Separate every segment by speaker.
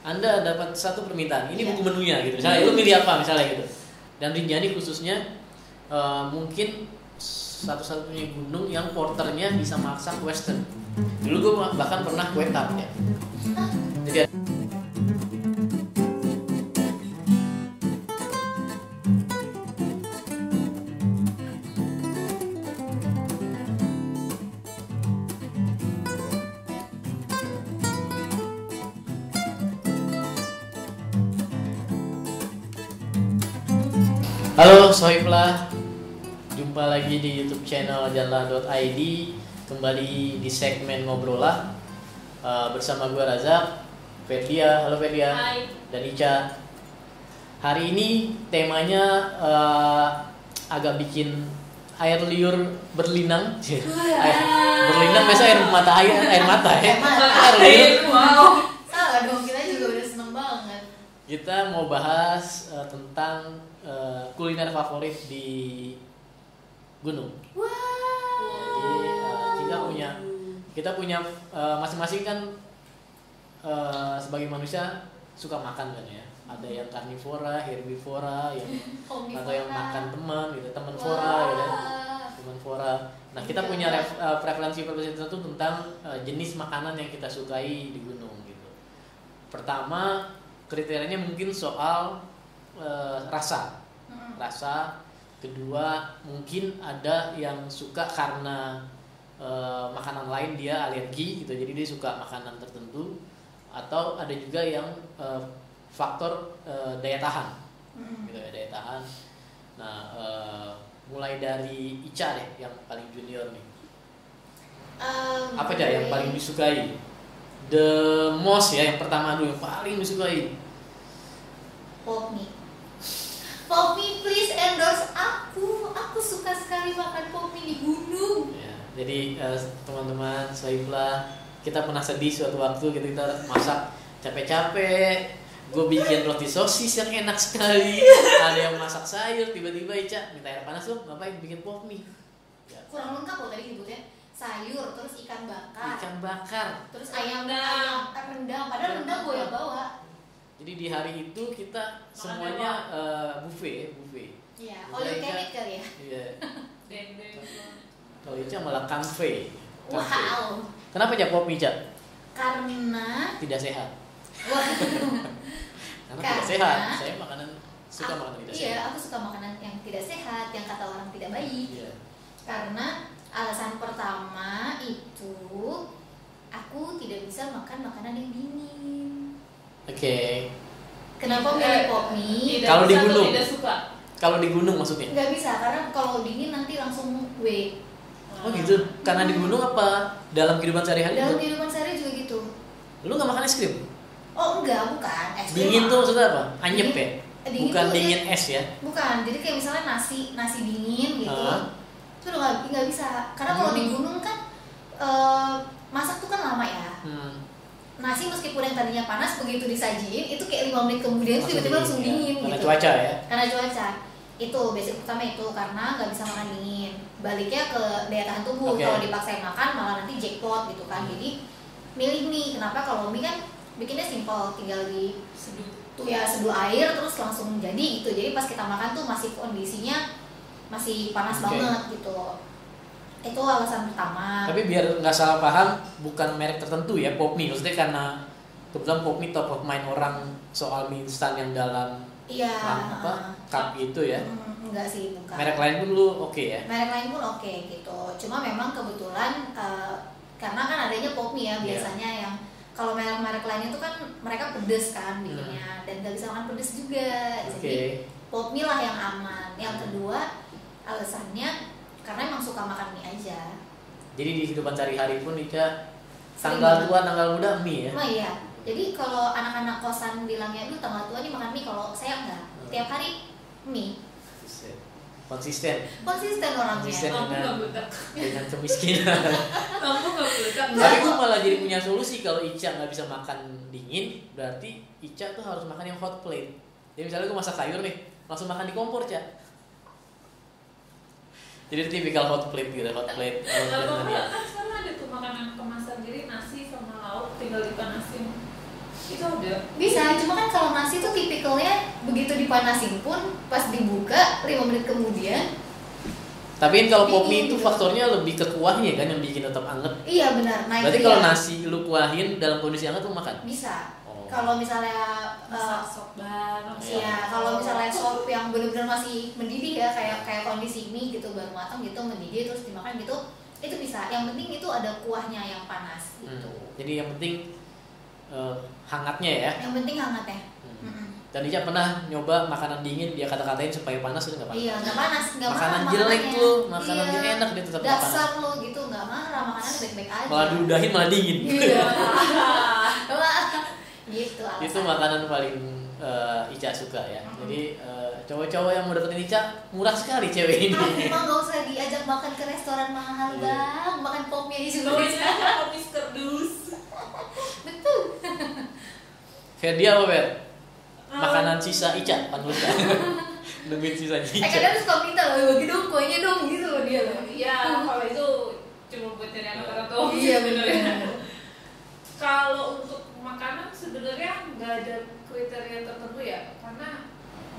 Speaker 1: Anda dapat satu permintaan. Ini buku menunya gitu. Misalnya lu milih apa misalnya gitu. Dan Rinjani khususnya eh, mungkin satu-satunya gunung yang porternya bisa masak western. Dulu gue bahkan pernah kue tart ya. Jadi ada- Halo Sohiblah Jumpa lagi di YouTube channel Janla.id Kembali di segmen Ngobrolah Eh, Bersama gue Razak Fedia, halo Fedia
Speaker 2: Hai.
Speaker 1: Dan Ica Hari ini temanya eh, agak bikin air liur berlinang Air- Berlinang biasa air mata air, air mata ya
Speaker 3: Air mata.
Speaker 1: Air liur
Speaker 2: wow.
Speaker 3: Salah dong, kita juga udah seneng banget.
Speaker 1: Kita mau bahas eh, tentang eh, kuliner favorit di gunung. Jadi eh, kita punya kita punya eh, masing-masing kan eh, sebagai manusia suka makan kan ya. Ada yang karnivora, herbivora, yang atau yang makan teman gitu, teman fora gitu. ya. Teman fora. Nah, kita punya ref- eh, preferensi preferensi tertentu tentang eh, jenis makanan yang kita sukai di gunung gitu. Pertama, kriterianya mungkin soal eh, rasa rasa kedua mungkin ada yang suka karena eh, makanan lain dia alergi gitu jadi dia suka makanan tertentu atau ada juga yang eh, faktor eh, daya tahan gitu ya daya tahan nah eh, mulai dari Ica deh yang paling junior nih apa aja yang paling disukai the most ya yang pertama dulu yang paling disukai
Speaker 3: Popmi. Popmi please endorse aku. Aku suka sekali makan popmi di gunung.
Speaker 1: Ya, jadi eh, teman-teman Saifullah kita pernah sedih suatu waktu gitu kita masak capek-capek gue bikin roti sosis yang enak sekali ada yang masak sayur tiba-tiba Ica minta air panas dong ngapain bikin pop mie Ya,
Speaker 3: Kurang lengkap loh tadi nyebutnya. Sayur, terus ikan bakar,
Speaker 1: ikan bakar
Speaker 3: terus ayam
Speaker 2: Rendang.
Speaker 3: ayam eh, rendang. Padahal rendang gue yang bawa.
Speaker 1: jadi di hari itu kita semuanya eh, buffet buffet
Speaker 3: Iya,
Speaker 1: Iya,
Speaker 3: all you
Speaker 1: iya.
Speaker 3: can eat kali ya.
Speaker 1: Iya.
Speaker 2: Dendeng.
Speaker 1: kalau Ica malah kamfe Kamfe.
Speaker 3: Wow.
Speaker 1: kenapa ya pop mie Ica
Speaker 3: Karena
Speaker 1: tidak sehat
Speaker 3: wah,
Speaker 1: karena, tidak
Speaker 3: Karena-
Speaker 1: sehat saya makanan suka
Speaker 3: aku-
Speaker 1: makanan tidak
Speaker 3: iya,
Speaker 1: sehat
Speaker 3: aku suka makanan yang tidak sehat, yang kata orang tidak baik.
Speaker 1: Iya.
Speaker 3: karena alasan pertama itu aku tidak bisa makan makanan yang dingin.
Speaker 1: oke
Speaker 2: Eh,
Speaker 3: Kenapa milih pop mie?
Speaker 2: Tidak
Speaker 1: Kalau di
Speaker 2: bisa atau
Speaker 1: gunung.
Speaker 2: Tidak Eh, suka.
Speaker 1: Kalau di gunung maksudnya?
Speaker 3: Nggak bisa karena kalau dingin nanti langsung gue.
Speaker 1: Oh gitu. Karena di gunung apa? Dalam kehidupan sehari-hari?
Speaker 3: Dalam
Speaker 1: juga?
Speaker 3: kehidupan sehari juga gitu.
Speaker 1: Lu nggak makan es krim?
Speaker 3: Oh enggak, bukan. Es krim
Speaker 1: Dingin tuh
Speaker 3: mah.
Speaker 1: maksudnya apa? Anyep ya?
Speaker 3: Dingin- Eh, dingin
Speaker 1: Bukan
Speaker 3: tuh
Speaker 1: dingin es ya?
Speaker 3: Bukan. Jadi kayak misalnya nasi nasi dingin gitu.
Speaker 1: Hah?
Speaker 3: Itu udah nggak- nggak bisa. Karena kalau di
Speaker 1: Hmm.
Speaker 3: gunung kan eh, masak tuh kan lama ya.
Speaker 1: Hmm.
Speaker 3: Nasi meskipun yang tadinya panas begitu disajiin itu kayak lima menit kemudian tuh tiba-tiba langsung
Speaker 1: ya.
Speaker 3: dingin
Speaker 1: Karena
Speaker 3: gitu.
Speaker 1: cuaca ya?
Speaker 3: karena cuaca itu basic pertama itu karena nggak bisa makan dingin baliknya ke daya tahan tubuh
Speaker 1: Oke. Hmm.
Speaker 3: kalau dipaksain makan malah nanti jackpot gitu kan jadi milih mie kenapa kalau mie kan bikinnya simple tinggal di
Speaker 2: Seduh.
Speaker 3: tuh
Speaker 2: Iya.
Speaker 3: ya seduh air terus langsung jadi gitu jadi pas kita makan tuh masih kondisinya masih panas
Speaker 1: Oke.
Speaker 3: banget gitu itu alasan pertama
Speaker 1: Tapi biar nggak salah paham, bukan merek tertentu ya pop mie. Maksudnya karena kebetulan pop mie top of mind orang soal mie instan yang dalam
Speaker 3: iya
Speaker 1: lang- apa cup gitu ya.
Speaker 3: mm, enggak sih bukan
Speaker 1: Merek lain pun lu oke ya?
Speaker 3: merek lain pun oke gitu cuma memang kebetulan eh, karena kan adanya pop mie
Speaker 1: Iya.
Speaker 3: ya biasanya yang kalau merek-merek lain itu kan mereka pedes kan bikinnya dan nggak bisa makan pedes juga
Speaker 1: Iya. Oke.
Speaker 3: jadi pop mie lah yang aman yang kedua alasannya karena emang suka makan mie aja
Speaker 1: Jadi di kehidupan sehari-hari pun Ica
Speaker 3: Sering
Speaker 1: tanggal
Speaker 3: banget.
Speaker 1: tua, tanggal muda mie ya?
Speaker 3: Nah iya, jadi kalau anak-anak kosan bilangnya lu tanggal tua nih makan mie, kalau saya enggak. Tiap hari mie,
Speaker 1: Buset. Konsisten
Speaker 3: konsisten orangnya.
Speaker 1: Konsisten.
Speaker 2: Lampu nggak budak.
Speaker 1: dengan kemiskinan.
Speaker 2: Lampu nggak budak.
Speaker 1: Tapi gue malah jadi punya solusi kalau Ica nggak bisa makan dingin, berarti Ica tuh harus makan yang hot plate. Jadi misalnya gue masak sayur nih, langsung makan di kompor, Ca. Jadi tipikal hot plate gitu, hot plate. hot plate
Speaker 2: Lampu
Speaker 1: tadi.
Speaker 2: nggak kan sekarang ada tuh makanan kemasan jadi nasi sama lauk tinggal dipanasin. Itu ada.
Speaker 3: Bisa, cuma kan kalau nasi tuh tipikalnya begitu dipanasin pun pas dibuka 5 menit kemudian
Speaker 1: Tapi kalau
Speaker 3: Tapi
Speaker 1: pomi itu
Speaker 3: gitu.
Speaker 1: faktornya lebih ke kuahnya kan yang bikin tetap anget.
Speaker 3: iya benar naik.
Speaker 1: Berarti
Speaker 3: dia.
Speaker 1: kalau nasi lu kuahin dalam kondisi anget lu makan.
Speaker 3: bisa.
Speaker 1: Oh.
Speaker 3: Kalau misalnya
Speaker 2: Masak
Speaker 3: eh,
Speaker 2: sop bareng.
Speaker 3: Iya, kalau misalnya sop yang bener-bener masih mendidih ya kayak kayak kondisi mie gitu baru matang gitu mendidih terus dimakan gitu itu bisa. Yang penting itu ada kuahnya yang panas
Speaker 1: Hmm.
Speaker 3: gitu.
Speaker 1: Jadi yang penting eh, hangatnya ya.
Speaker 3: Yang penting hangatnya.
Speaker 1: Hmm.
Speaker 3: Mm-mm.
Speaker 1: Dan dia pernah nyoba makanan dingin dia kata-katain supaya panas itu nggak panas.
Speaker 3: Iya, nggak panas, nggak marah
Speaker 1: makanan jelek
Speaker 3: makanannya.
Speaker 1: tuh, makanan
Speaker 3: Iya.
Speaker 1: yang enak dia tetap nggak panas.
Speaker 3: Dasar lo gitu nggak marah makanannya baik-baik aja.
Speaker 1: Malah diudahin malah dingin.
Speaker 3: Iya. Wah, gitu. alasan.
Speaker 1: itu makanan paling eh, Ica suka ya.
Speaker 3: Mhm.
Speaker 1: Jadi eh, cowok-cowok yang mau deketin Ica murah sekali cewek
Speaker 3: Ah,
Speaker 1: ini.
Speaker 3: emang gak usah diajak makan ke restoran
Speaker 1: Iya.
Speaker 3: mahal bang, makan popnya aja juga bisa.
Speaker 2: Nulisnya habis kerdus.
Speaker 3: Betul.
Speaker 1: Ferdi apa Fer?
Speaker 3: Ah.
Speaker 1: Makanan sisa Ica panggilnya. Duit sisa
Speaker 3: Eh
Speaker 1: Ica.
Speaker 3: kadang suka minta loh, bagi dong kuenya dong gitu loh dia loh.
Speaker 2: Iya, kalau itu cuma buat nyari anak-anak doang.
Speaker 3: Iya,
Speaker 2: sebenarnya.
Speaker 3: bener.
Speaker 2: Kalau untuk makanan sebenarnya nggak ada kriteria tertentu ya, karena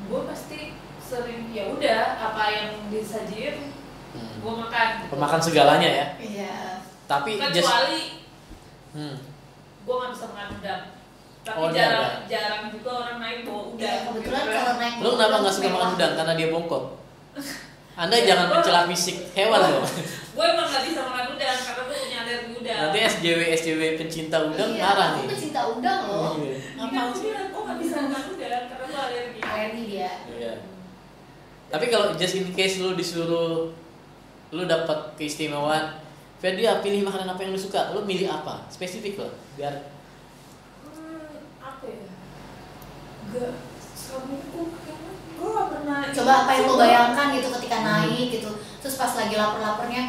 Speaker 2: gue pasti sering ya udah apa yang disajiin
Speaker 1: Hmm.
Speaker 2: gue makan.
Speaker 1: Pemakan segalanya ya.
Speaker 3: Iya.
Speaker 1: Tapi just
Speaker 2: Kecuali
Speaker 1: hmm.
Speaker 2: gue nggak bisa makan udang. Tapi
Speaker 1: Oh, dia
Speaker 2: jarang
Speaker 1: ada.
Speaker 2: jarang juga orang naik bawa udang. Gitu.
Speaker 3: Iya, kebetulan kalau naik
Speaker 1: Lu kenapa nggak suka
Speaker 3: mewah.
Speaker 1: makan udang? Karena dia bongkok. Anda
Speaker 2: Ya,
Speaker 1: jangan
Speaker 2: gua-
Speaker 1: mencela fisik hewan loh.
Speaker 2: Gue emang nggak bisa makan udang karena gue punya alergi udang.
Speaker 1: Nanti SJW SJW pencinta udang
Speaker 3: Iya,
Speaker 1: marah
Speaker 3: Aku
Speaker 1: nih.
Speaker 3: pecinta udang loh.
Speaker 1: Iya.
Speaker 2: Ngapain sih? Gue nggak bisa makan udang karena gue alergi.
Speaker 3: Alergi dia.
Speaker 1: Iya. Tapi kalau just in case lu disuruh lu dapat keistimewaan, Ferdi ah, pilih makanan apa yang lu suka, lu milih apa? Spesifik loh, biar
Speaker 2: Hmm, apa ya? Gak selama ini gue kayaknya gue gak pernah
Speaker 3: Coba apa yang lo bayangkan gitu ketika naik gitu. Terus pas lagi lapar-laparnya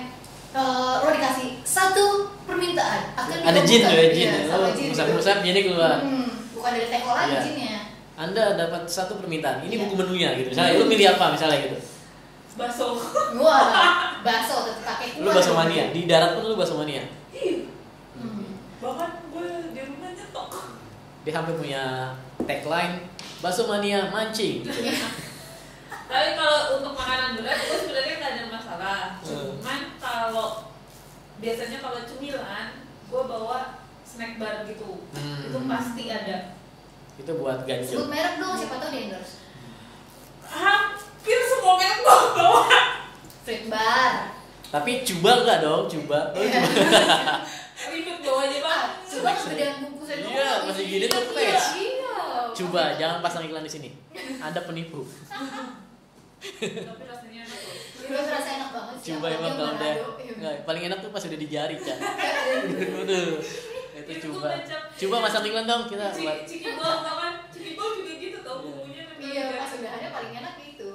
Speaker 3: eh, lo dikasih satu permintaan akan
Speaker 1: ada jin loh
Speaker 3: dikabulkan.
Speaker 1: ya jin,
Speaker 3: Iya,
Speaker 1: ya.
Speaker 3: sama
Speaker 1: lu
Speaker 3: jin gitu.
Speaker 1: musaf-musaf jin keluar.
Speaker 3: Hmm, bukan dari teko lagi
Speaker 1: Iya.
Speaker 3: jinnya.
Speaker 1: Anda dapat satu permintaan, ini
Speaker 3: Iya.
Speaker 1: buku menunya gitu. Misalnya lu milih apa misalnya gitu.
Speaker 2: Baso
Speaker 3: Wah, bakso tetep pakai kuah.
Speaker 1: Lu bakso mania, di darat pun lu bakso mania.
Speaker 2: Iya
Speaker 3: Hmm.
Speaker 2: Bahkan gue di rumah nyetok
Speaker 1: Dia hampir punya tagline bakso mania mancing. Gitu.
Speaker 2: Tapi kalau untuk makanan berat gue sebenarnya gak ada masalah
Speaker 1: Hmm.
Speaker 2: Cuman kalau Biasanya kalau cemilan Gue bawa snack bar gitu
Speaker 1: Hmm.
Speaker 2: Itu pasti ada
Speaker 1: Itu buat
Speaker 3: Sebut
Speaker 1: ganjel.
Speaker 3: merek dong, siapa tahu di endorse.
Speaker 2: Hampir semua merek gue bawa
Speaker 3: Fruit bar.
Speaker 1: Tapi coba enggak dong, Oh, iya. coba. Lu coba.
Speaker 2: Ribet bawanya bang
Speaker 3: Ah, coba kegedean bungkus aja.
Speaker 1: Iya, masih gini tuh
Speaker 3: Iya,
Speaker 1: fresh.
Speaker 3: iya.
Speaker 1: Coba jangan pasang iklan di sini. Anda penipu.
Speaker 2: Tapi rasanya enak loh
Speaker 3: Terus rasa enak banget sih.
Speaker 1: Coba emang ya, kalau udah
Speaker 3: Manado, iya.
Speaker 1: nggak, paling enak tuh pas udah di jari, Cak. Aduh. Itu
Speaker 2: Itu
Speaker 1: coba.
Speaker 2: kecap. Iya.
Speaker 1: Coba masak iklan dong kita
Speaker 2: Ciki,
Speaker 1: buat.
Speaker 2: ciki bol tau kan? Ciki bol juga gitu tau
Speaker 1: Iya.
Speaker 2: bumbunya kan
Speaker 3: Iya,
Speaker 2: beda.
Speaker 3: pas udah ada paling enak itu.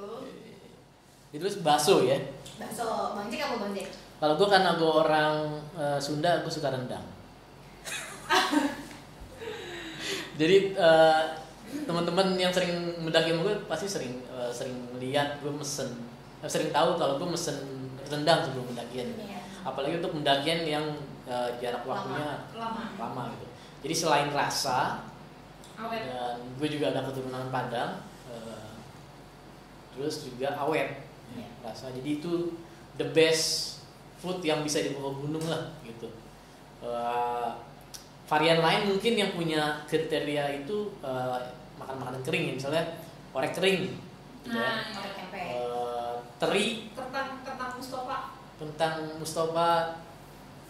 Speaker 1: Itu bakso ya.
Speaker 3: Bakso, Bang Cik apa Bang Cik?
Speaker 1: Kalau gue karena gue orang eh, Sunda, gue suka rendang. Jadi eh, teman-teman yang sering mendaki sama gue pasti sering eh, sering lihat gue mesen, eh, sering tahu kalau gue mesen rendang sebelum mendakian.
Speaker 3: Iya.
Speaker 1: Apalagi untuk mendakian yang eh, jarak waktunya
Speaker 2: Lama.
Speaker 1: lama gitu. Jadi selain rasa
Speaker 2: Awet.
Speaker 1: dan gue juga ada keturunan Padang, eh, terus juga awet
Speaker 3: Iya.
Speaker 1: rasa. Jadi itu the best food yang bisa di bawah gunung lah gitu. Eh, varian lain mungkin yang punya kriteria itu eh, makan-makanan kering ya misalnya orek kering, gitu
Speaker 2: Nah,
Speaker 1: ya.
Speaker 3: Makan tempe.
Speaker 1: Eh, teri
Speaker 2: kentang kentang Mustafa.
Speaker 1: tentang Mustafa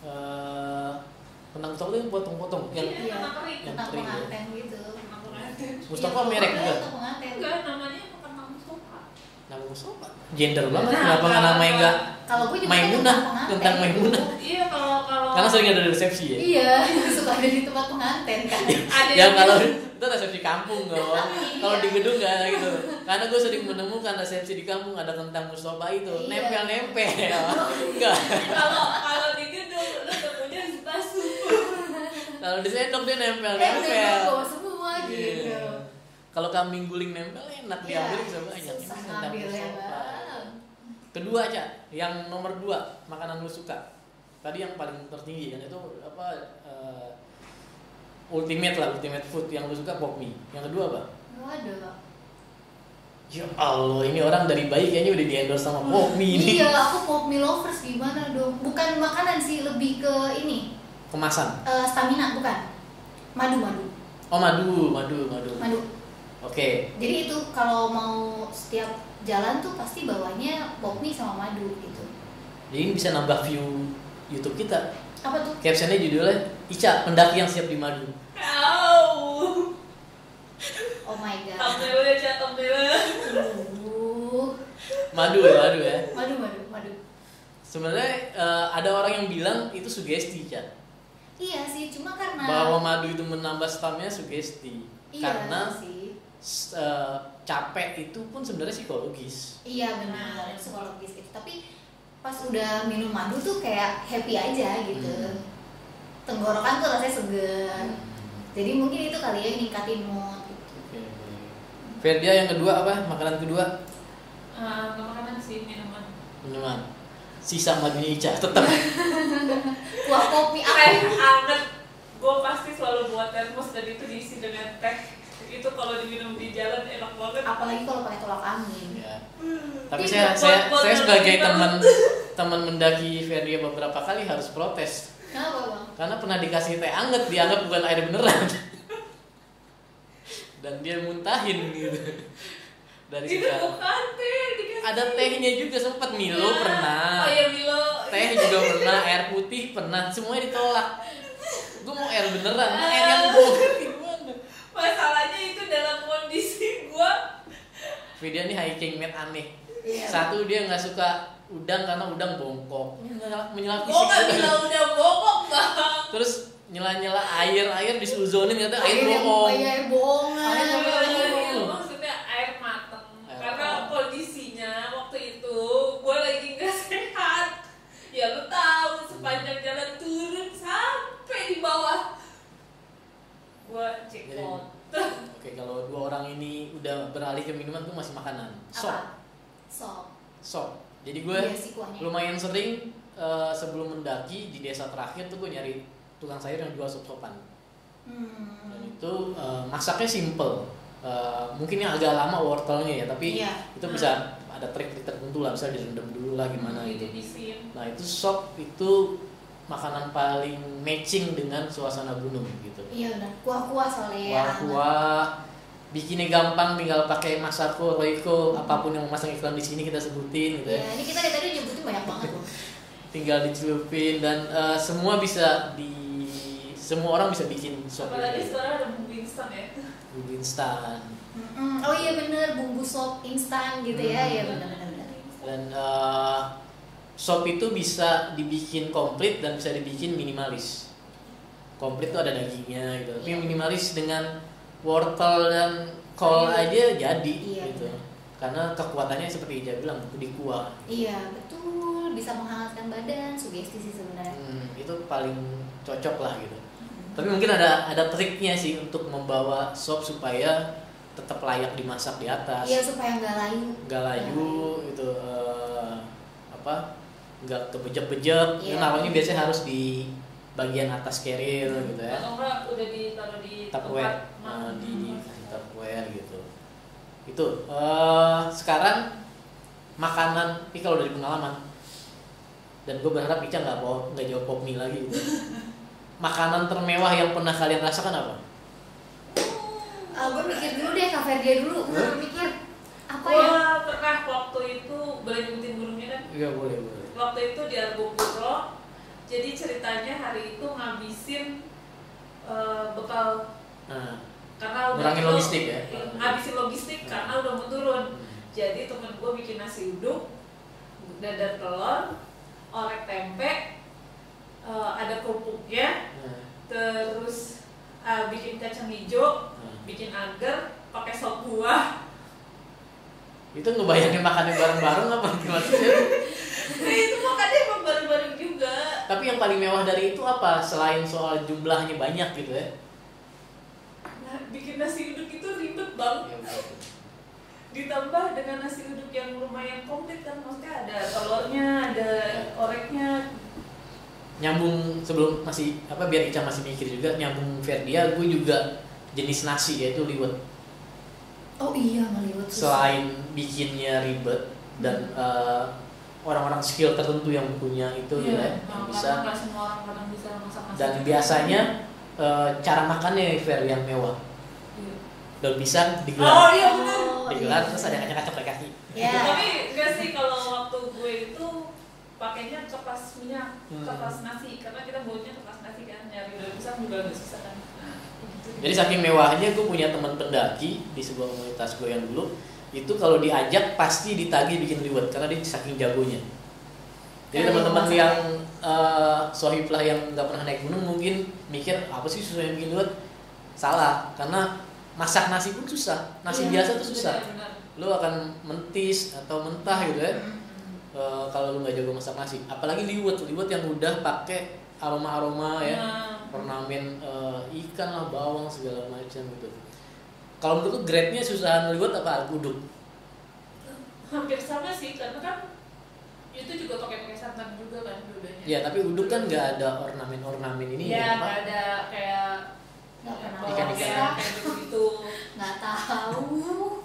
Speaker 1: eh tentang Mustafa itu yang potong-potong yang
Speaker 2: Iya,
Speaker 3: Iya.
Speaker 2: kentang kering.
Speaker 1: Yang
Speaker 3: Tentang
Speaker 1: kering, ya.
Speaker 3: penganten gitu.
Speaker 2: Kentang pengantin.
Speaker 1: Mustafa
Speaker 3: Iya,
Speaker 1: merek juga
Speaker 3: Tentang penganten.
Speaker 2: Enggak, namanya emang kentang Mustafa.
Speaker 1: nama Mustafa gender banget
Speaker 2: Nah,
Speaker 1: kenapa nggak
Speaker 2: kalau-
Speaker 1: namanya enggak
Speaker 3: Kalau gue juga
Speaker 1: Maimunah,
Speaker 3: penganten
Speaker 1: tentang
Speaker 3: gitu.
Speaker 1: Maimunah.
Speaker 2: Iya, kalau kalau
Speaker 1: karena sering ada di resepsi ya
Speaker 3: Iya, suka ada di tempat penganten kan.
Speaker 2: ada
Speaker 1: ya
Speaker 2: yang- gitu.
Speaker 1: kalau itu resepsi kampung dong kalau di gedung nggak ada gitu karena gue sering menemukan resepsi di kampung ada tentang Mustafa itu
Speaker 3: Iya.
Speaker 1: nempel-nempel enggak
Speaker 2: kalau kalau di gedung lu temunya stasu.
Speaker 1: kalau di sendok dia
Speaker 3: Eh, udah
Speaker 1: nempel-nempel
Speaker 3: bawa semua gitu.
Speaker 1: Iya. kalau kambing guling nempel enak
Speaker 3: Iya,
Speaker 1: diambil bisa banyak Ini
Speaker 3: susah
Speaker 1: tentang
Speaker 3: ngambil ya,
Speaker 1: Mustafa.
Speaker 3: Bang.
Speaker 1: kedua aja yang nomor dua makanan lu suka tadi yang paling tertinggi kan itu apa eh, ultimate lah ultimate food yang lu suka pop mie yang kedua apa
Speaker 3: Waduh.
Speaker 1: ya allah ini orang dari bayi kayaknya udah di endorse sama pop mie ini
Speaker 3: Iya, aku pop mie lovers gimana dong? Bukan makanan sih, lebih ke ini
Speaker 1: kemasan
Speaker 3: eh, stamina bukan? Madu, madu,
Speaker 1: oh madu madu madu oke
Speaker 3: madu. Jadi itu kalau mau setiap jalan tuh pasti bawahnya pop mie sama madu gitu.
Speaker 1: jadi ini bisa nambah view YouTube kita
Speaker 3: Apa tuh?
Speaker 1: captionnya judulnya Ica pendaki yang siap di madu
Speaker 2: Au.
Speaker 3: Oh my god.
Speaker 2: Thumbnailnya aja thumbnailnya.
Speaker 3: Aduh.
Speaker 1: madu ya madu ya
Speaker 3: Madu, madu, madu.
Speaker 1: sebenarnya eh, ada orang yang bilang itu sugesti Ica
Speaker 3: Iya sih, cuma karena
Speaker 1: bahwa madu itu menambah stamina sugesti
Speaker 3: iya
Speaker 1: karena
Speaker 3: sih.
Speaker 1: s- eh, capek itu pun sebenarnya psikologis
Speaker 3: Iya benar, psikologis gitu. Tapi pas udah minum madu tuh kayak happy aja gitu.
Speaker 1: Hmm.
Speaker 3: Tenggorokan tuh rasanya seger. Jadi mungkin itu kali ya ningkatin mood gitu.
Speaker 1: Oke. Ferdia yang kedua apa makanan kedua
Speaker 2: Eh, makanan sih minuman.
Speaker 1: minuman sisa madunya Ica tetap
Speaker 3: Kuah kopi
Speaker 2: teh
Speaker 3: apa?
Speaker 2: ya? anget gue pasti selalu buat termos dan itu diisi dengan teh itu kalau diminum di jalan enak banget
Speaker 3: Apalagi kalau pakai tolak angin.
Speaker 1: Ya.
Speaker 2: Hmm.
Speaker 1: tapi
Speaker 2: Ini
Speaker 1: saya
Speaker 2: buat-
Speaker 1: saya
Speaker 2: buat
Speaker 1: saya
Speaker 2: minum
Speaker 1: sebagai
Speaker 2: kita.
Speaker 1: teman teman mendaki Ferdia beberapa kali harus protes
Speaker 3: Kenapa bang?
Speaker 1: karena pernah dikasih teh anget dianggap bukan air beneran dan dia muntahin gitu dari
Speaker 2: itu
Speaker 1: sekarang
Speaker 2: bukan teh dikasih
Speaker 1: ada tehnya juga sempat Milo
Speaker 2: Ya.
Speaker 1: pernah
Speaker 2: oh iya Milo
Speaker 1: teh juga pernah air putih pernah semuanya ditolak gue mau air beneran mau air yang gue gimana
Speaker 2: masalahnya itu dalam kondisi gue
Speaker 1: video ini hiking mate aneh
Speaker 3: Iya.
Speaker 1: satu dia nggak suka udang karena udang bongkok menyela menyela
Speaker 2: gue Oh, nggak
Speaker 1: fisik
Speaker 2: bilang udah bobok bang
Speaker 1: terus nyela nyela air air disuzonin kata air
Speaker 3: Air yang
Speaker 1: bohong
Speaker 3: iya, air bohongan.
Speaker 1: Air
Speaker 2: Tapi
Speaker 1: bohongan.
Speaker 2: maksudnya itu maksudnya air mateng
Speaker 1: Air mateng.
Speaker 2: karena kondisinya waktu itu gue lagi nggak sehat ya lu tahu sepanjang jalan turun sampai di bawah gue cekot
Speaker 1: oke kalau dua orang ini udah beralih ke minuman tuh masih makanan
Speaker 3: Apa?
Speaker 1: sop
Speaker 3: Sop.
Speaker 1: sop jadi gue
Speaker 3: Iya sih kuahnya.
Speaker 1: lumayan sering eh, sebelum mendaki di desa terakhir tuh gue nyari tukang sayur yang jual sop sopan dan
Speaker 3: Hmm.
Speaker 1: itu eh, masaknya simple Eh, mungkin yang agak lama wortelnya ya tapi
Speaker 3: Iya.
Speaker 1: itu bisa ada trik-trik tertentu lah misalnya direndam dulu lah gimana
Speaker 3: Hmm.
Speaker 2: Jadi
Speaker 1: gitu
Speaker 2: disin.
Speaker 1: nah itu sop itu makanan paling matching dengan suasana gunung gitu
Speaker 3: Iya benar. Kuah-kuah soalnya. ya,
Speaker 1: kuah-kuah bikinnya gampang tinggal pakai masako roiko apapun yang memasang iklan di sini kita sebutin
Speaker 3: anget.
Speaker 1: gitu
Speaker 3: Iya,
Speaker 1: ya
Speaker 3: ini kita dari tadi nyebutin banyak banget loh.
Speaker 1: tinggal dicelupin dan eh, semua bisa di semua orang bisa bikin sop
Speaker 2: apalagi
Speaker 1: itu.
Speaker 2: sekarang ada bumbu instan ya
Speaker 1: bumbu instan
Speaker 3: Mm-mm. Oh iya bener, bumbu sop instan gitu ya,
Speaker 1: Hmm.
Speaker 3: ya bener bener. bener.
Speaker 1: dan eh, sop itu bisa dibikin komplit dan bisa dibikin minimalis komplit tuh ada dagingnya gitu tapi
Speaker 3: Iya.
Speaker 1: minimalis dengan wortel dan kol aja jadi
Speaker 3: Iya,
Speaker 1: gitu
Speaker 3: benar.
Speaker 1: karena kekuatannya seperti Ija bilang di kuah
Speaker 3: Iya betul, bisa menghangatkan badan, sugesti sih sebenarnya.
Speaker 1: Hmm, itu paling cocok lah gitu
Speaker 3: Hmm.
Speaker 1: tapi mungkin ada ada triknya sih untuk membawa sop supaya tetap layak dimasak di atas
Speaker 3: Iya supaya nggak layu.
Speaker 1: nggak layu gitu eh, apa nggak kebejek-bejek
Speaker 3: Iya.
Speaker 1: yeah. naruhnya biasanya harus di bagian atas keril gitu ya
Speaker 2: atau enggak udah ditaruh di tempat
Speaker 1: tupperware nah,
Speaker 2: ma-
Speaker 1: di di tupperware gitu itu eh, sekarang makanan ini kalau dari pengalaman dan gue berharap Ica nggak mau nggak jawab pop mie lagi gitu. makanan termewah yang pernah kalian rasakan apa
Speaker 3: Ah, gue mikir dulu deh, kafe dia dulu. Gue
Speaker 1: Hah?
Speaker 3: mikir apa
Speaker 2: Gua
Speaker 3: ya?
Speaker 2: pernah waktu itu boleh nyebutin gunungnya kan
Speaker 1: iya boleh boleh
Speaker 2: waktu itu di Argopuro jadi ceritanya hari itu ngabisin eh, bekal
Speaker 1: nah
Speaker 2: karena udah
Speaker 1: Ngurangin
Speaker 2: turun-
Speaker 1: logistik ya?
Speaker 2: ngabisin logistik karena udah mau turun jadi temen gue bikin nasi uduk dadar telur orek tempe eh, ada kerupuknya
Speaker 1: nah,
Speaker 2: terus eh, bikin kacang hijau
Speaker 1: nah.
Speaker 2: bikin agar pakai sop buah
Speaker 1: itu ngebayangin makannya bareng-bareng apa gimana sih?
Speaker 2: Nah, itu makannya emang bareng-bareng juga
Speaker 1: tapi yang paling mewah dari itu apa selain soal jumlahnya banyak gitu ya
Speaker 2: nah, bikin nasi uduk itu ribet banget ditambah dengan nasi uduk yang lumayan komplit kan maksudnya ada telurnya ada oreknya
Speaker 1: nyambung sebelum masih apa biar Ica masih mikir juga nyambung Verdia gue juga jenis nasi ya, yaitu liwet
Speaker 3: oh iya meliwet susah
Speaker 1: selain bikinnya ribet dan eh, orang-orang skill tertentu yang punya itu
Speaker 2: Iya,
Speaker 1: ya yang
Speaker 2: karena
Speaker 1: bisa
Speaker 2: nggak semua orang kadang bisa masak masak
Speaker 1: dan biasanya eh, cara makannya Fer yang mewah daun pisang
Speaker 2: Iya. oh
Speaker 1: digelar
Speaker 2: iya benar
Speaker 1: digelar terus ada kacang-kacang dari kaki
Speaker 3: ya
Speaker 2: tapi enggak sih kalau waktu gue itu pakainya kertas minyak
Speaker 1: Hmm.
Speaker 2: kertas nasi karena kita baunya kertas nasi kan nyari daun pisang juga nggak susah kan Nah, gitu.
Speaker 1: jadi saking mewahnya gue punya teman pendaki di sebuah komunitas gue yang dulu itu kalau diajak pasti ditagih bikin liwet karena dia saking jagonya jadi
Speaker 3: Karena
Speaker 1: teman-teman
Speaker 3: dia
Speaker 1: yang eh sohib lah yang nggak pernah naik gunung mungkin mikir apa sih susahnya bikin liwet salah karena masak nasi pun susah nasi
Speaker 3: Iya,
Speaker 1: biasa tuh susah
Speaker 2: Benar,
Speaker 1: lu akan mentis atau mentah gitu ya Eh, kalau lu nggak jago masak nasi apalagi liwet liwet yang udah pakai aroma aroma
Speaker 2: benar.
Speaker 1: ya
Speaker 2: Nah,
Speaker 1: ornamen eh, ikan lah bawang segala macam gitu kalau menurut lu grade nya susahan liwet apa guduk
Speaker 2: hampir sama sih karena kan itu juga pakai pakai santan juga kan dua-duanya
Speaker 1: ya tapi uduk kan nggak ada ornamen ornamen ini ya,
Speaker 2: Iya,
Speaker 1: Pak.
Speaker 2: nggak ada kayak
Speaker 3: Nggak pernah
Speaker 2: bawang
Speaker 1: Ikan-ikan.
Speaker 2: merah, kayak gitu. begitu.
Speaker 3: nggak tahu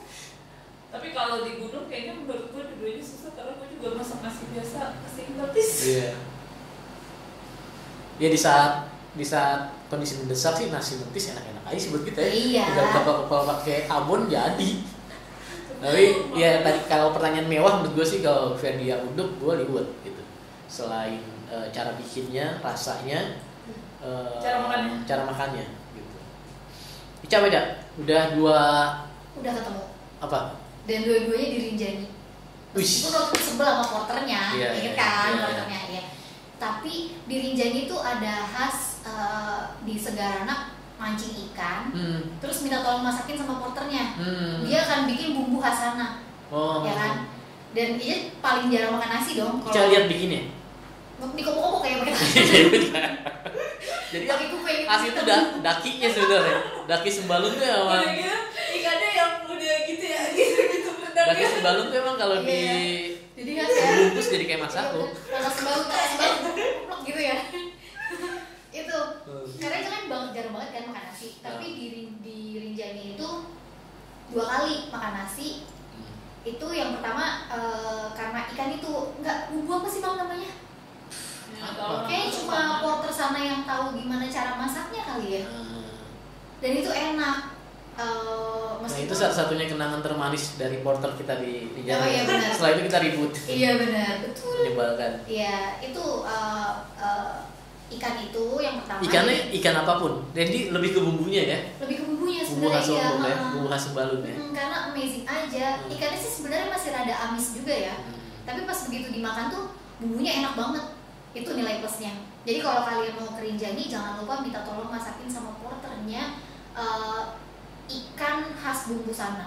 Speaker 2: Tapi kalau di gunung kayaknya menurut gue dua-duanya susah karena gue juga masak nasi biasa kesehatan tis.
Speaker 1: Iya. Ya di saat di saat kondisi mendesak sih nasi mentis enak-enak aja sih buat kita ya.
Speaker 3: Iya.
Speaker 1: Udah kepal-kepal pakai abon jadi. Tapi ya tadi kalau pertanyaan mewah menurut gue sih kalau Ferdia Uduk gue liwet gitu. Selain eh, cara bikinnya, rasanya, eh,
Speaker 2: Cara makannya.
Speaker 1: cara makannya gitu. Ica beda. Udah dua
Speaker 3: udah ketemu
Speaker 1: apa?
Speaker 3: dan dua-duanya dirinjani
Speaker 1: Wih.
Speaker 3: Meskipun aku sebel sama porternya,
Speaker 1: Iya,
Speaker 3: ya
Speaker 1: iya,
Speaker 3: kan
Speaker 1: iya, iya.
Speaker 3: porternya ya. Tapi di Rinjani tuh ada khas eh, di Segaranak mancing ikan,
Speaker 1: Hmm.
Speaker 3: terus minta tolong masakin sama porternya.
Speaker 1: Hmm.
Speaker 3: Dia akan bikin bumbu khas sana,
Speaker 1: oh.
Speaker 3: ya Iya. kan? Dan dia paling jarang makan nasi dong.
Speaker 1: Ica
Speaker 3: Kalau
Speaker 1: lihat bikinnya.
Speaker 3: di kopok-kopok kayak pakai
Speaker 1: Jadi
Speaker 3: pakai gitu. kuping.
Speaker 1: Asli itu da dakinya sebenarnya. Daki sembalun tuh emang.
Speaker 2: Udah gitu, ikannya yang udah gitu ya, gitu-gitu
Speaker 1: Daki
Speaker 2: benarnya.
Speaker 1: sembalun tuh emang
Speaker 3: Iya.
Speaker 1: kalau di
Speaker 3: Jadi kan ya.
Speaker 1: dibungkus jadi kayak masako.
Speaker 3: Kalau sebau, kalau sebau, plok gitu ya. itu
Speaker 1: Hmm.
Speaker 3: karena itu kan bang jarang banget kan makan nasi
Speaker 1: Ya.
Speaker 3: tapi di Rin- di Rinjani itu dua kali makan nasi itu yang pertama eh, karena ikan itu nggak bumbu apa sih bang namanya
Speaker 2: Ya, kalau
Speaker 3: kayaknya
Speaker 2: orang
Speaker 3: cuma
Speaker 2: masak.
Speaker 3: porter sana yang tahu gimana cara masaknya kali ya
Speaker 1: Ah.
Speaker 3: dan itu enak Eh,
Speaker 1: Nah
Speaker 3: meskipun-
Speaker 1: itu satu-satunya kenangan termanis dari porter kita di, di jalan.
Speaker 3: Oh, iya, benar.
Speaker 1: Setelah itu kita ribut.
Speaker 3: iya benar betul
Speaker 1: Menyebalkan.
Speaker 3: iya itu eh, eh, ikan itu yang pertama
Speaker 1: Ikannya ikan apapun. Jadi lebih ke bumbunya ya.
Speaker 3: lebih ke bumbunya
Speaker 1: Bumbu
Speaker 3: Eh, sebenarnya iya.
Speaker 1: khas Lombok ya,
Speaker 3: heeh.
Speaker 1: bumbu khas sembalun ya.
Speaker 3: Hmm, karena amazing aja
Speaker 1: Hmm.
Speaker 3: ikannya sih sebenarnya masih rada amis juga ya tapi pas begitu dimakan tuh bumbunya enak banget itu nilai plusnya jadi kalau kalian mau kerinjani jangan lupa minta tolong masakin sama porternya eh, ikan khas bumbu sana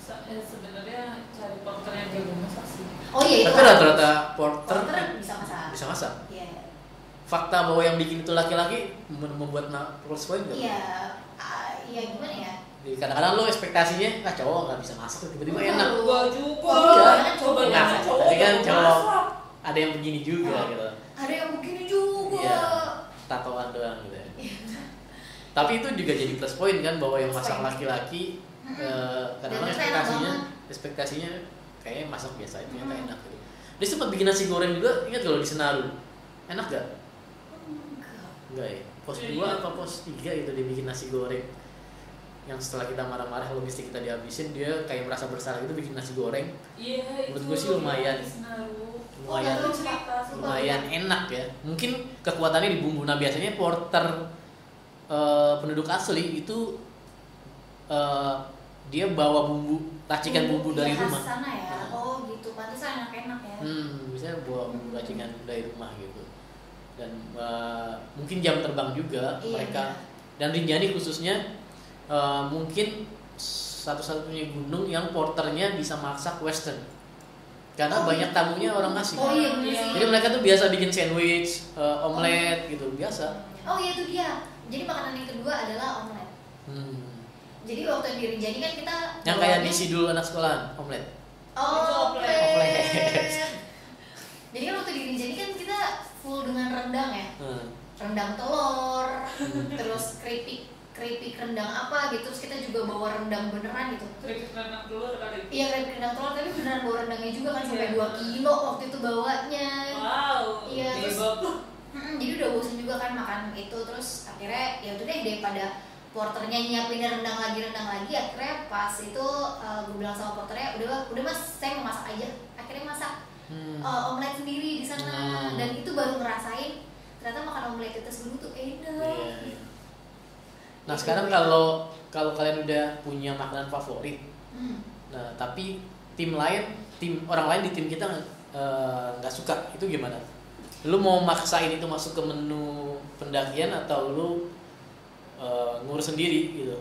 Speaker 2: Se- eh, Sebenarnya cari porter yang jago masak sih.
Speaker 3: oh iya itu
Speaker 1: Tapi rata-rata porter
Speaker 3: porter bisa masak
Speaker 1: bisa masak.
Speaker 3: iya
Speaker 1: Fakta bahwa yang bikin itu laki-laki mem- membuat na- plus point nggak?
Speaker 3: iya ah, iya gimana ya
Speaker 1: Jadi kadang-kadang lo ekspektasinya ah cowok nggak bisa masak tiba-tiba
Speaker 3: Enggak
Speaker 1: enak
Speaker 2: Gua juga.
Speaker 3: Iya.
Speaker 2: coba
Speaker 1: Nah,
Speaker 2: jangan
Speaker 1: tapi
Speaker 2: cowok.
Speaker 1: kan
Speaker 2: yang
Speaker 1: cowok-
Speaker 2: masak.
Speaker 1: ada yang begini
Speaker 3: Iya.
Speaker 1: juga gitu
Speaker 3: ada yang begini juga
Speaker 1: Iya. tatoan doang gitu ya tapi itu juga jadi plus point kan bahwa yang masak
Speaker 3: Iya. Plus point.
Speaker 1: laki-laki
Speaker 3: Mm-mm.
Speaker 1: eh, kadang-kadang
Speaker 3: Dan itu enak
Speaker 1: ekspektasinya
Speaker 3: banget.
Speaker 1: ekspektasinya kayaknya masak biasa itu ternyata
Speaker 3: Mm.
Speaker 1: enak gitu dia sempat bikin nasi goreng juga ingat kalau di Senaru enak gak?
Speaker 3: Enggak.
Speaker 1: enggak ya pos
Speaker 2: Iya.
Speaker 1: 2 apa pos 3 itu dia bikin nasi goreng yang setelah kita marah-marah logistik kita dihabisin dia kayak merasa bersalah gitu bikin nasi goreng
Speaker 2: Iya, itu.
Speaker 1: Menurut gua sih lumayan.
Speaker 2: Senaru.
Speaker 3: Oh,
Speaker 1: lumayan
Speaker 3: nggak tahu,
Speaker 2: Cerita,
Speaker 3: Pak.
Speaker 2: sumpah.
Speaker 1: lumayan enak ya mungkin kekuatannya di bumbu nah biasanya porter eh, penduduk asli itu eh, dia bawa bumbu racikan bumbu dari
Speaker 3: Iya, khas
Speaker 1: rumah
Speaker 3: sana ya oh gitu pantesan enak-enak ya
Speaker 1: hmm biasanya bawa bumbu racikan dari rumah gitu dan eh, mungkin jam terbang juga
Speaker 3: Iya,
Speaker 1: mereka dan Rinjani khususnya eh, mungkin satu-satunya gunung yang porternya bisa masak western karena
Speaker 3: Oh,
Speaker 1: banyak tamunya orang asing
Speaker 3: Oh, iya, bener sih.
Speaker 1: jadi mereka tuh biasa bikin sandwich, eh, omelet gitu biasa.
Speaker 3: Oh iya itu dia. Jadi makanan yang kedua adalah omelet.
Speaker 1: Hmm.
Speaker 3: Jadi waktu yang di Rinjani kan kita
Speaker 1: Yang kayak di sidul anak sekolahan, omelet.
Speaker 3: Oh,
Speaker 2: Itu
Speaker 3: omelet.
Speaker 1: omelet.
Speaker 3: Jadi kan waktu di Rinjani kan kita full dengan rendang ya
Speaker 1: Hmm.
Speaker 3: rendang telur terus keripik keripik rendang apa gitu terus kita juga bawa rendang beneran gitu
Speaker 2: Keripik rendang telur kali.
Speaker 3: iya keripik rendang telur tapi beneran bawa rendangnya juga kan sampai
Speaker 2: Iya. Oh,
Speaker 3: 2 kilo waktu itu bawanya
Speaker 2: Wow.
Speaker 3: Iya, terus-
Speaker 2: bebek.
Speaker 3: Mm-mm, jadi udah bosen juga kan makan itu terus akhirnya ya udah deh daripada porternya nyiapin rendang lagi rendang lagi akhirnya pas itu eh, gue bilang sama porternya udah udah mas saya mau masak aja akhirnya masak
Speaker 1: Hmm.
Speaker 3: eh, omelet sendiri di sana
Speaker 1: Hmm.
Speaker 3: dan itu baru ngerasain ternyata makan omelet itu dulu tuh enak
Speaker 1: Iya, iya. Nah sekarang kalau kalau kalian udah punya makanan favorit,
Speaker 3: Hmm.
Speaker 1: nah tapi tim lain, tim orang lain di tim kita nggak- eh, nggak suka, itu gimana? Lu mau maksain itu masuk ke menu pendakian atau lu eh, ngurus sendiri gitu?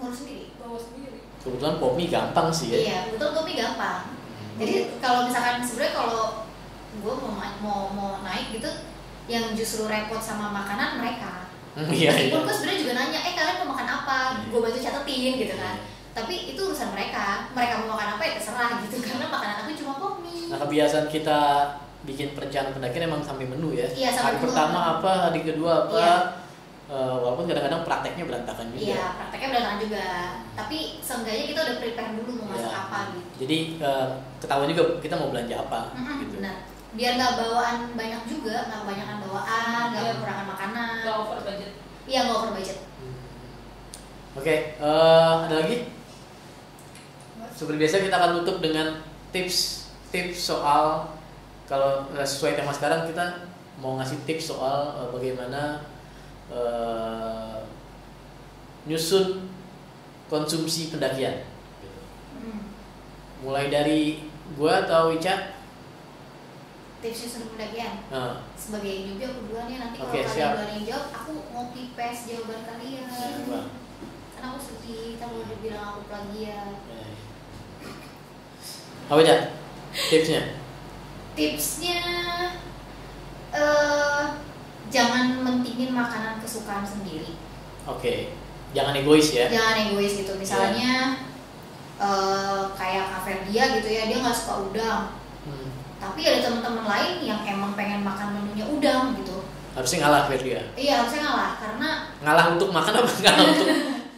Speaker 3: ngurus sendiri
Speaker 2: Bawa sendiri.
Speaker 1: Kebetulan popmi gampang sih ya.
Speaker 3: iya betul kopi gampang jadi kalau misalkan sebenarnya kalau gue mau ma- mau mau naik gitu yang justru repot sama makanan mereka
Speaker 1: Iya. iya.
Speaker 3: Meskipun gue sebenarnya juga nanya, eh kalian mau makan
Speaker 1: Iya.
Speaker 3: apa? Gue bantu catetin gitu kan. Tapi itu urusan mereka. Mereka mau makan apa ya terserah gitu. Karena makanan aku cuma
Speaker 1: Nah
Speaker 3: kopi.
Speaker 1: kebiasaan kita bikin perencanaan pendakian emang sampai menu ya.
Speaker 3: Iya,
Speaker 1: hari
Speaker 3: sampai menu.
Speaker 1: pertama apa, hari kedua apa.
Speaker 3: Iya.
Speaker 1: Eh, walaupun kadang-kadang prakteknya berantakan juga.
Speaker 3: Iya, prakteknya berantakan juga. Tapi seenggaknya kita udah prepare dulu mau masak
Speaker 1: Iya.
Speaker 3: apa gitu.
Speaker 1: Jadi eh, ketahuan juga kita mau belanja apa.
Speaker 3: Mm-mm,
Speaker 1: gitu.
Speaker 3: Benar. Biar nggak bawaan banyak juga, nggak kebanyakan bawaan, nggak
Speaker 2: Iya.
Speaker 3: kekurangan makanan.
Speaker 2: Gak over budget.
Speaker 3: Iya, nggak over budget.
Speaker 1: Hmm. Oke, eh, ada lagi? Seperti biasa kita akan tutup dengan tips tips soal kalau eh, sesuai tema sekarang kita mau ngasih tips soal eh, bagaimana eh, nyusun konsumsi pendakian.
Speaker 3: Mm.
Speaker 1: Mulai dari gua atau Ica?
Speaker 3: Tipsnya sudah pendakian.
Speaker 1: Nah,
Speaker 3: Sebagai newbie aku duluan ya nanti
Speaker 1: Oke,
Speaker 3: kalau kalian
Speaker 1: siap.
Speaker 3: duluan yang jawab, aku ngopi pes jawaban kalian.
Speaker 1: coba.
Speaker 3: karena aku sedih kamu udah bilang aku plagiat
Speaker 1: Apa aja tipsnya?
Speaker 3: tipsnya eh jangan mentingin makanan kesukaan sendiri
Speaker 1: Oke, jangan egois ya.
Speaker 3: jangan egois gitu misalnya eh kayak Kak Ferdia gitu ya dia nggak suka udang
Speaker 1: Hmm,
Speaker 3: tapi ada teman-teman lain yang emang pengen makan menunya udang gitu
Speaker 1: Harusnya ngalah Ferdia.
Speaker 3: iya harusnya ngalah karena
Speaker 1: Ngalah untuk makan apa ngalah untuk?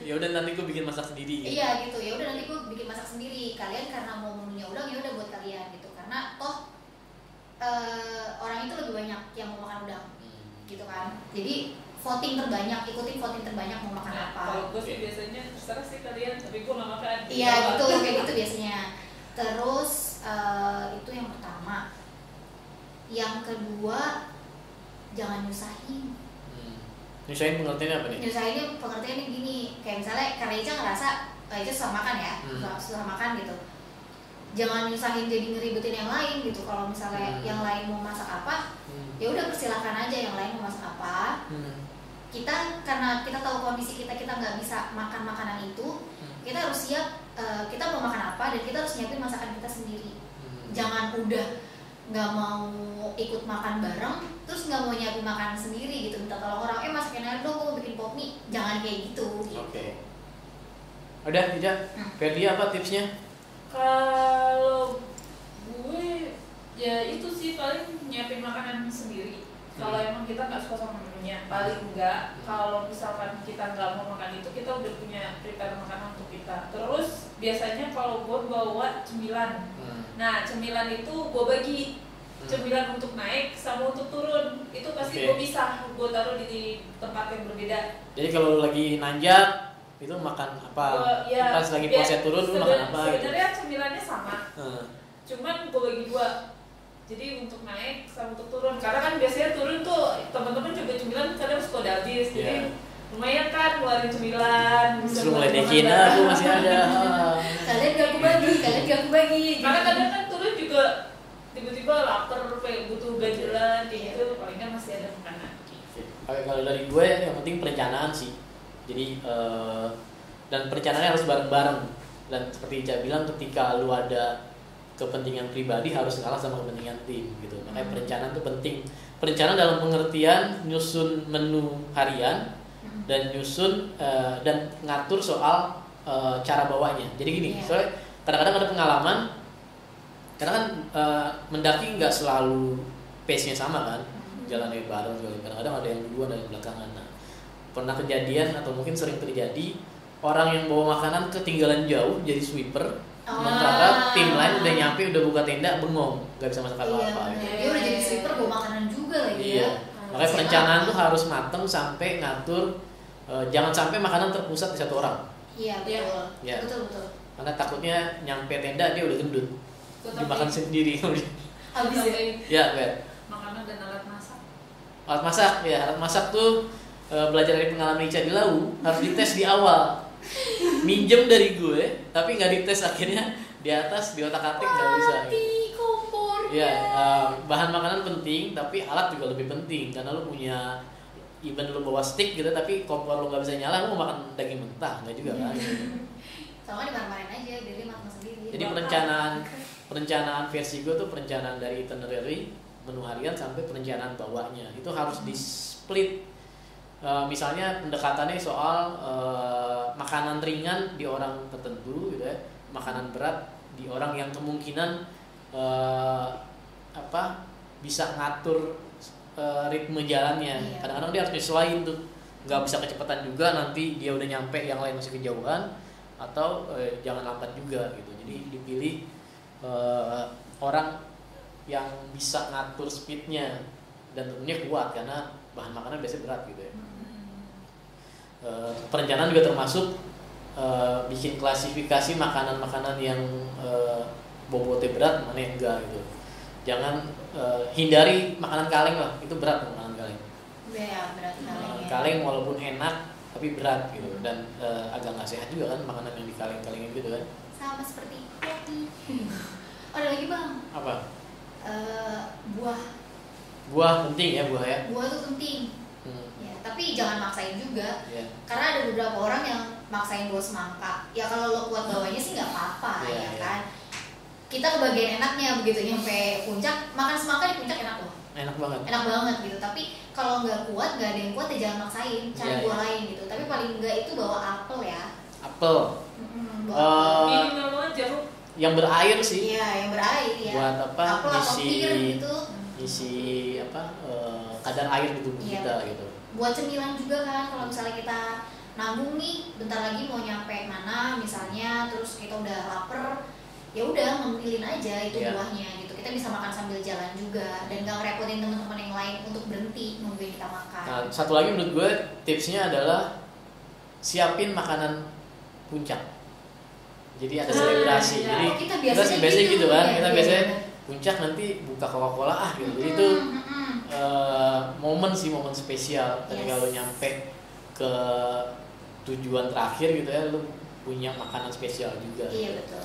Speaker 1: ya udah nanti gue bikin masak sendiri. gitu.
Speaker 3: Iya gitu ya udah nanti gue bikin masak sendiri kalian karena mau menunya udang ya udah buat kalian gitu karena toh eh, orang itu lebih banyak yang mau makan udang
Speaker 1: Hmm.
Speaker 3: gitu kan jadi voting terbanyak ikutin voting terbanyak mau makan
Speaker 2: Nah,
Speaker 3: apa
Speaker 2: kalau gue sih biasanya terserah sih kalian, tapi gue gak makan.
Speaker 3: iya gitu
Speaker 2: Gak
Speaker 3: kayak gitu biasanya terus eh, itu yang pertama yang kedua jangan nyusahin
Speaker 1: Hmm. Nyusahin pengertiannya apa nih?
Speaker 2: Ya.
Speaker 3: nyusahinnya pengertiannya gini kayak misalnya karena Ica ngerasa eh, Ica susah makan ya
Speaker 1: Hmm.
Speaker 3: susah, susah makan gitu jangan nyusahin jadi ngeribetin yang lain gitu kalau misalnya
Speaker 1: Hmm.
Speaker 3: yang lain mau masak apa
Speaker 1: Hmm.
Speaker 3: ya udah persilahkan aja yang lain mau masak apa
Speaker 1: Hmm.
Speaker 3: kita karena kita tahu kondisi kita kita nggak bisa makan makanan itu
Speaker 1: Hmm.
Speaker 3: kita harus siap eh, kita mau makan apa dan kita harus nyiapin masakan kita sendiri
Speaker 1: Hmm.
Speaker 3: jangan udah nggak mau ikut makan bareng terus nggak mau nyiapin makanan sendiri gitu minta tolong orang eh masakin air dong gue mau bikin pop mie jangan kayak gitu
Speaker 1: Oke. Udah, Ija.
Speaker 3: Hmm.
Speaker 1: Ferdia apa tipsnya?
Speaker 2: Kalau gue ya itu sih paling nyiapin makanan sendiri. Kalau
Speaker 1: Hmm.
Speaker 2: emang kita nggak suka sama menunya, paling enggak kalau misalkan kita nggak mau makan itu kita udah punya prepare makanan untuk kita. Terus biasanya kalau gue bawa cemilan.
Speaker 1: Hmm.
Speaker 2: Nah cemilan itu gue bagi cemilan untuk naik sama untuk turun itu pasti
Speaker 1: Oke.
Speaker 2: gue pisah gue taruh di tempat yang berbeda.
Speaker 1: Jadi kalau lu lagi nanjak itu makan apa?
Speaker 2: Gua- ya,
Speaker 1: Pas lagi
Speaker 2: biar-
Speaker 1: Ah, proses turun lu makan
Speaker 2: seben-
Speaker 1: apa? Gitu.
Speaker 2: Sebenarnya cemilannya sama,
Speaker 1: Hmm.
Speaker 2: cuman gue bagi dua jadi untuk naik sama untuk turun karena kan biasanya turun tuh teman-teman juga cemilan kadang suka udah habis jadi
Speaker 1: Iya.
Speaker 2: lumayan kan ngeluarin cemilan bisa
Speaker 1: Terus lu
Speaker 2: buat
Speaker 1: ngeledekin,
Speaker 2: makan.
Speaker 1: aku masih ada. Ah.
Speaker 3: kalian gak aku bagi kalian gak aku bagi Iya,
Speaker 2: karena kadang kan turun juga tiba-tiba lapar kayak butuh ganjelan kayak gitu palingnya masih ada makanan
Speaker 1: Oke, kalau dari gue yang penting perencanaan sih. Jadi eh, dan perencanaannya harus bareng-bareng. Dan seperti Ica bilang ketika lu ada kepentingan pribadi harus ngalah sama kepentingan tim gitu. Makanya
Speaker 2: Hmm.
Speaker 1: perencanaan itu penting. Perencanaan dalam pengertian nyusun menu harian
Speaker 3: Hmm.
Speaker 1: dan nyusun eh, dan ngatur soal eh, cara bawanya. Jadi gini,
Speaker 3: Iya.
Speaker 1: soalnya kadang-kadang ada pengalaman karena kan eh, mendaki nggak selalu pace-nya sama kan.
Speaker 3: Hmm.
Speaker 1: jalannya bareng gitu. kadang-kadang ada yang duluan ada yang belakangan nah pernah kejadian atau mungkin sering terjadi orang yang bawa makanan ketinggalan jauh jadi sweeper
Speaker 3: Ah.
Speaker 1: sementara tim lain udah nyampe udah buka tenda bengong nggak bisa masak
Speaker 3: iya
Speaker 1: apa-apa gitu.
Speaker 3: bener. dia udah jadi sweeper bawa makanan juga lagi
Speaker 1: Iya.
Speaker 3: ya
Speaker 1: Makanya perencanaan tuh harus mateng sampai ngatur eh, jangan sampai makanan terpusat di satu orang.
Speaker 3: iya betul
Speaker 1: Iya.
Speaker 3: betul betul
Speaker 1: Karena takutnya nyampe tenda dia udah gendut. Dimakan sendiri.
Speaker 3: habis ya
Speaker 1: ya, Bet.
Speaker 2: makanan dan alat masak
Speaker 1: Alat masak ya, alat masak tuh eh, belajar dari pengalaman Ica di Lau harus dites di awal. Minjem dari gue, tapi nggak dites akhirnya di atas di otak-atik nggak bisa.
Speaker 3: mati kompornya
Speaker 1: Iya, eh, bahan makanan penting, tapi alat juga lebih penting karena lu punya even lu bawa stick gitu tapi kompor lu nggak bisa nyala lu mau makan daging mentah nggak juga kan
Speaker 3: sama dimarah-marahin aja diri makan sendiri
Speaker 1: jadi perencanaan perencanaan versi gue tuh perencanaan dari itinerary menu harian sampai perencanaan bawahnya itu harus di split Eh, misalnya pendekatannya soal eh, makanan ringan di orang tertentu gitu ya makanan berat di orang yang kemungkinan eh, apa bisa ngatur eh, ritme jalannya
Speaker 3: Iya.
Speaker 1: kadang-kadang dia harus nyesuaiin tuh nggak bisa kecepatan juga nanti dia udah nyampe yang lain masih kejauhan atau eh, jangan lambat juga gitu jadi dipilih eh, orang yang bisa ngatur speednya dan tentunya kuat karena bahan makanan biasanya berat gitu ya Eh, perencanaan juga termasuk eh, bikin klasifikasi makanan-makanan yang eh, bobotnya berat mana yang enggak gitu jangan eh, hindari makanan kaleng lah itu berat tuh makanan kaleng
Speaker 3: ya berat
Speaker 1: makanan
Speaker 3: kaleng ya
Speaker 1: kaleng walaupun enak tapi berat gitu dan eh, agak nggak sehat juga kan makanan yang dikaleng-kalengin gitu kan
Speaker 3: sama seperti kopi oh, ada lagi bang
Speaker 1: apa
Speaker 3: Eh, buah
Speaker 1: buah penting ya buah ya
Speaker 3: buah tuh penting
Speaker 1: Hmm,
Speaker 3: ya tapi jangan maksain juga
Speaker 1: ya.
Speaker 3: karena ada beberapa orang yang maksain bawa semangka ya kalau lo kuat bawanya sih nggak
Speaker 1: Iya,
Speaker 3: apa-apa ya
Speaker 1: iya.
Speaker 3: kan kita ke bagian enaknya begitu nyampe puncak makan semangka di puncak enak loh
Speaker 1: enak banget
Speaker 3: enak banget gitu tapi kalau nggak kuat nggak ada yang kuat ya jangan maksain cari
Speaker 1: Iya,
Speaker 3: buah
Speaker 1: iya.
Speaker 3: lain gitu tapi paling nggak itu bawa apel ya
Speaker 1: apel
Speaker 3: Mm-mm, bawa apel.
Speaker 1: Eh,
Speaker 2: minimal banget jarum
Speaker 1: yang berair sih
Speaker 3: iya yang berair ya
Speaker 1: buat apa
Speaker 3: apel atau
Speaker 1: isi
Speaker 3: pir gitu
Speaker 1: isi apa eh, kadar air di tubuh
Speaker 3: Iya.
Speaker 1: kita gitu
Speaker 3: buat cemilan juga kan kalau misalnya kita nanggung nih bentar lagi mau nyampe mana misalnya terus kita udah lapar ya udah ngemilin aja itu
Speaker 1: Iya.
Speaker 3: buahnya gitu kita bisa makan sambil jalan juga dan gak ngerepotin teman-teman yang lain untuk berhenti nungguin kita makan
Speaker 1: Nah, satu lagi menurut gue tipsnya adalah siapin makanan puncak. Jadi ada
Speaker 2: Ah,
Speaker 1: selebrasi.
Speaker 2: iya.
Speaker 1: Jadi
Speaker 3: Oh, kita
Speaker 1: kita
Speaker 3: biasanya
Speaker 1: biasanya
Speaker 3: gitu,
Speaker 1: gitu kan,
Speaker 3: iya,
Speaker 1: kita
Speaker 3: iya.
Speaker 1: biasanya puncak nanti buka Coca-Cola ah gitu. Jadi itu
Speaker 3: Mm, mm, mm.
Speaker 1: eh, momen sih momen spesial ketika
Speaker 3: Yes.
Speaker 1: lo nyampe ke tujuan terakhir gitu ya lo punya makanan spesial juga.
Speaker 3: iya betul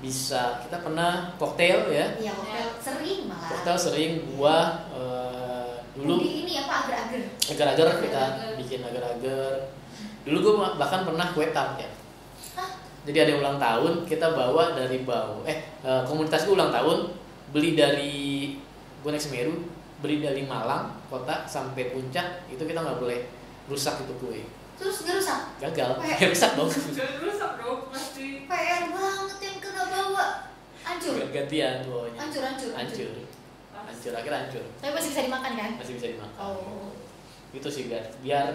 Speaker 1: Bisa kita pernah koktail ya.
Speaker 3: iya koktel sering malah
Speaker 1: Koktail sering buah eh, dulu
Speaker 3: Di ini apa agar-agar
Speaker 1: agar-agar kita
Speaker 2: Agar-agar.
Speaker 1: bikin agar-agar dulu gue bahkan pernah kue tart ya
Speaker 3: Hah?
Speaker 1: jadi ada yang ulang tahun kita bawa dari bau eh eh, komunitas gue ulang tahun beli dari gue naik Semeru beli dari Malang kota sampai puncak itu kita nggak boleh rusak itu kue
Speaker 3: terus gak rusak
Speaker 1: gagal
Speaker 3: Eh.
Speaker 1: ya rusak dong
Speaker 2: Jangan rusak dong pasti
Speaker 3: PR banget yang kena bawa hancur
Speaker 1: Iya. gantian bawanya
Speaker 3: hancur hancur
Speaker 1: hancur hancur akhir hancur
Speaker 3: tapi masih bisa dimakan kan
Speaker 1: masih bisa dimakan
Speaker 3: oh
Speaker 1: itu sih biar biar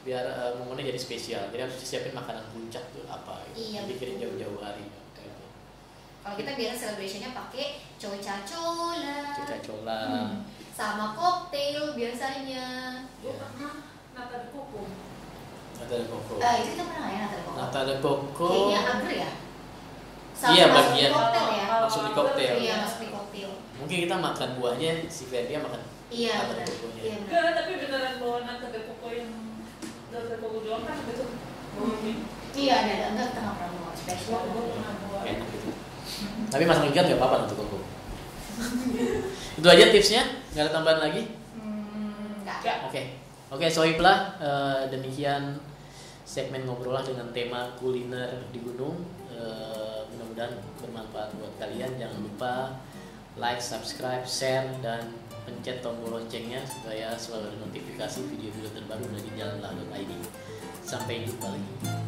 Speaker 1: biar eh, momennya jadi spesial jadi harus disiapin makanan puncak tuh apa gitu.
Speaker 3: Iya,
Speaker 1: dipikirin
Speaker 3: betul. Ah.
Speaker 1: jauh-jauh hari gitu.
Speaker 3: Kalau kita biasa celebrationnya pakai coca-cola
Speaker 1: cuca cola
Speaker 3: Hmm. sama koktail biasanya.
Speaker 1: ya.
Speaker 2: gue pernah nata di kuku
Speaker 1: Natal koko
Speaker 3: Eh itu kita pernah nggak ya Natal koktail?
Speaker 1: Natal koko
Speaker 3: Kayaknya agar ya. Sama
Speaker 1: Oh. Iya,
Speaker 3: masuk di
Speaker 1: bagian.
Speaker 3: koktail ya.
Speaker 1: Masuk di koktail.
Speaker 3: Iya masuk di koktail.
Speaker 1: mungkin kita makan buahnya si Ferdia makan
Speaker 3: Iya
Speaker 1: Natal
Speaker 3: benar.
Speaker 1: kokonya.
Speaker 3: Iya benar.
Speaker 2: Enggak, tapi beneran bawa nata di kuku yang nata di kuku doang kan gitu
Speaker 3: Iya ada ada enggak kita nggak pernah bawa
Speaker 2: Gua
Speaker 3: spesial.
Speaker 2: gua pernah bawa
Speaker 1: enak gitu tapi masang ikan nggak apa-apa Natal koko itu aja tipsnya nggak ada tambahan lagi
Speaker 3: Hmm nggak.
Speaker 2: Nggak.
Speaker 1: Ya, oke oke soiblah eh, demikian segmen ngobrol lah dengan tema kuliner di gunung Eh, mudah-mudahan bermanfaat buat kalian jangan lupa like subscribe share dan pencet tombol loncengnya supaya selalu ada notifikasi video-video terbaru dari jalanlah.id sampai jumpa lagi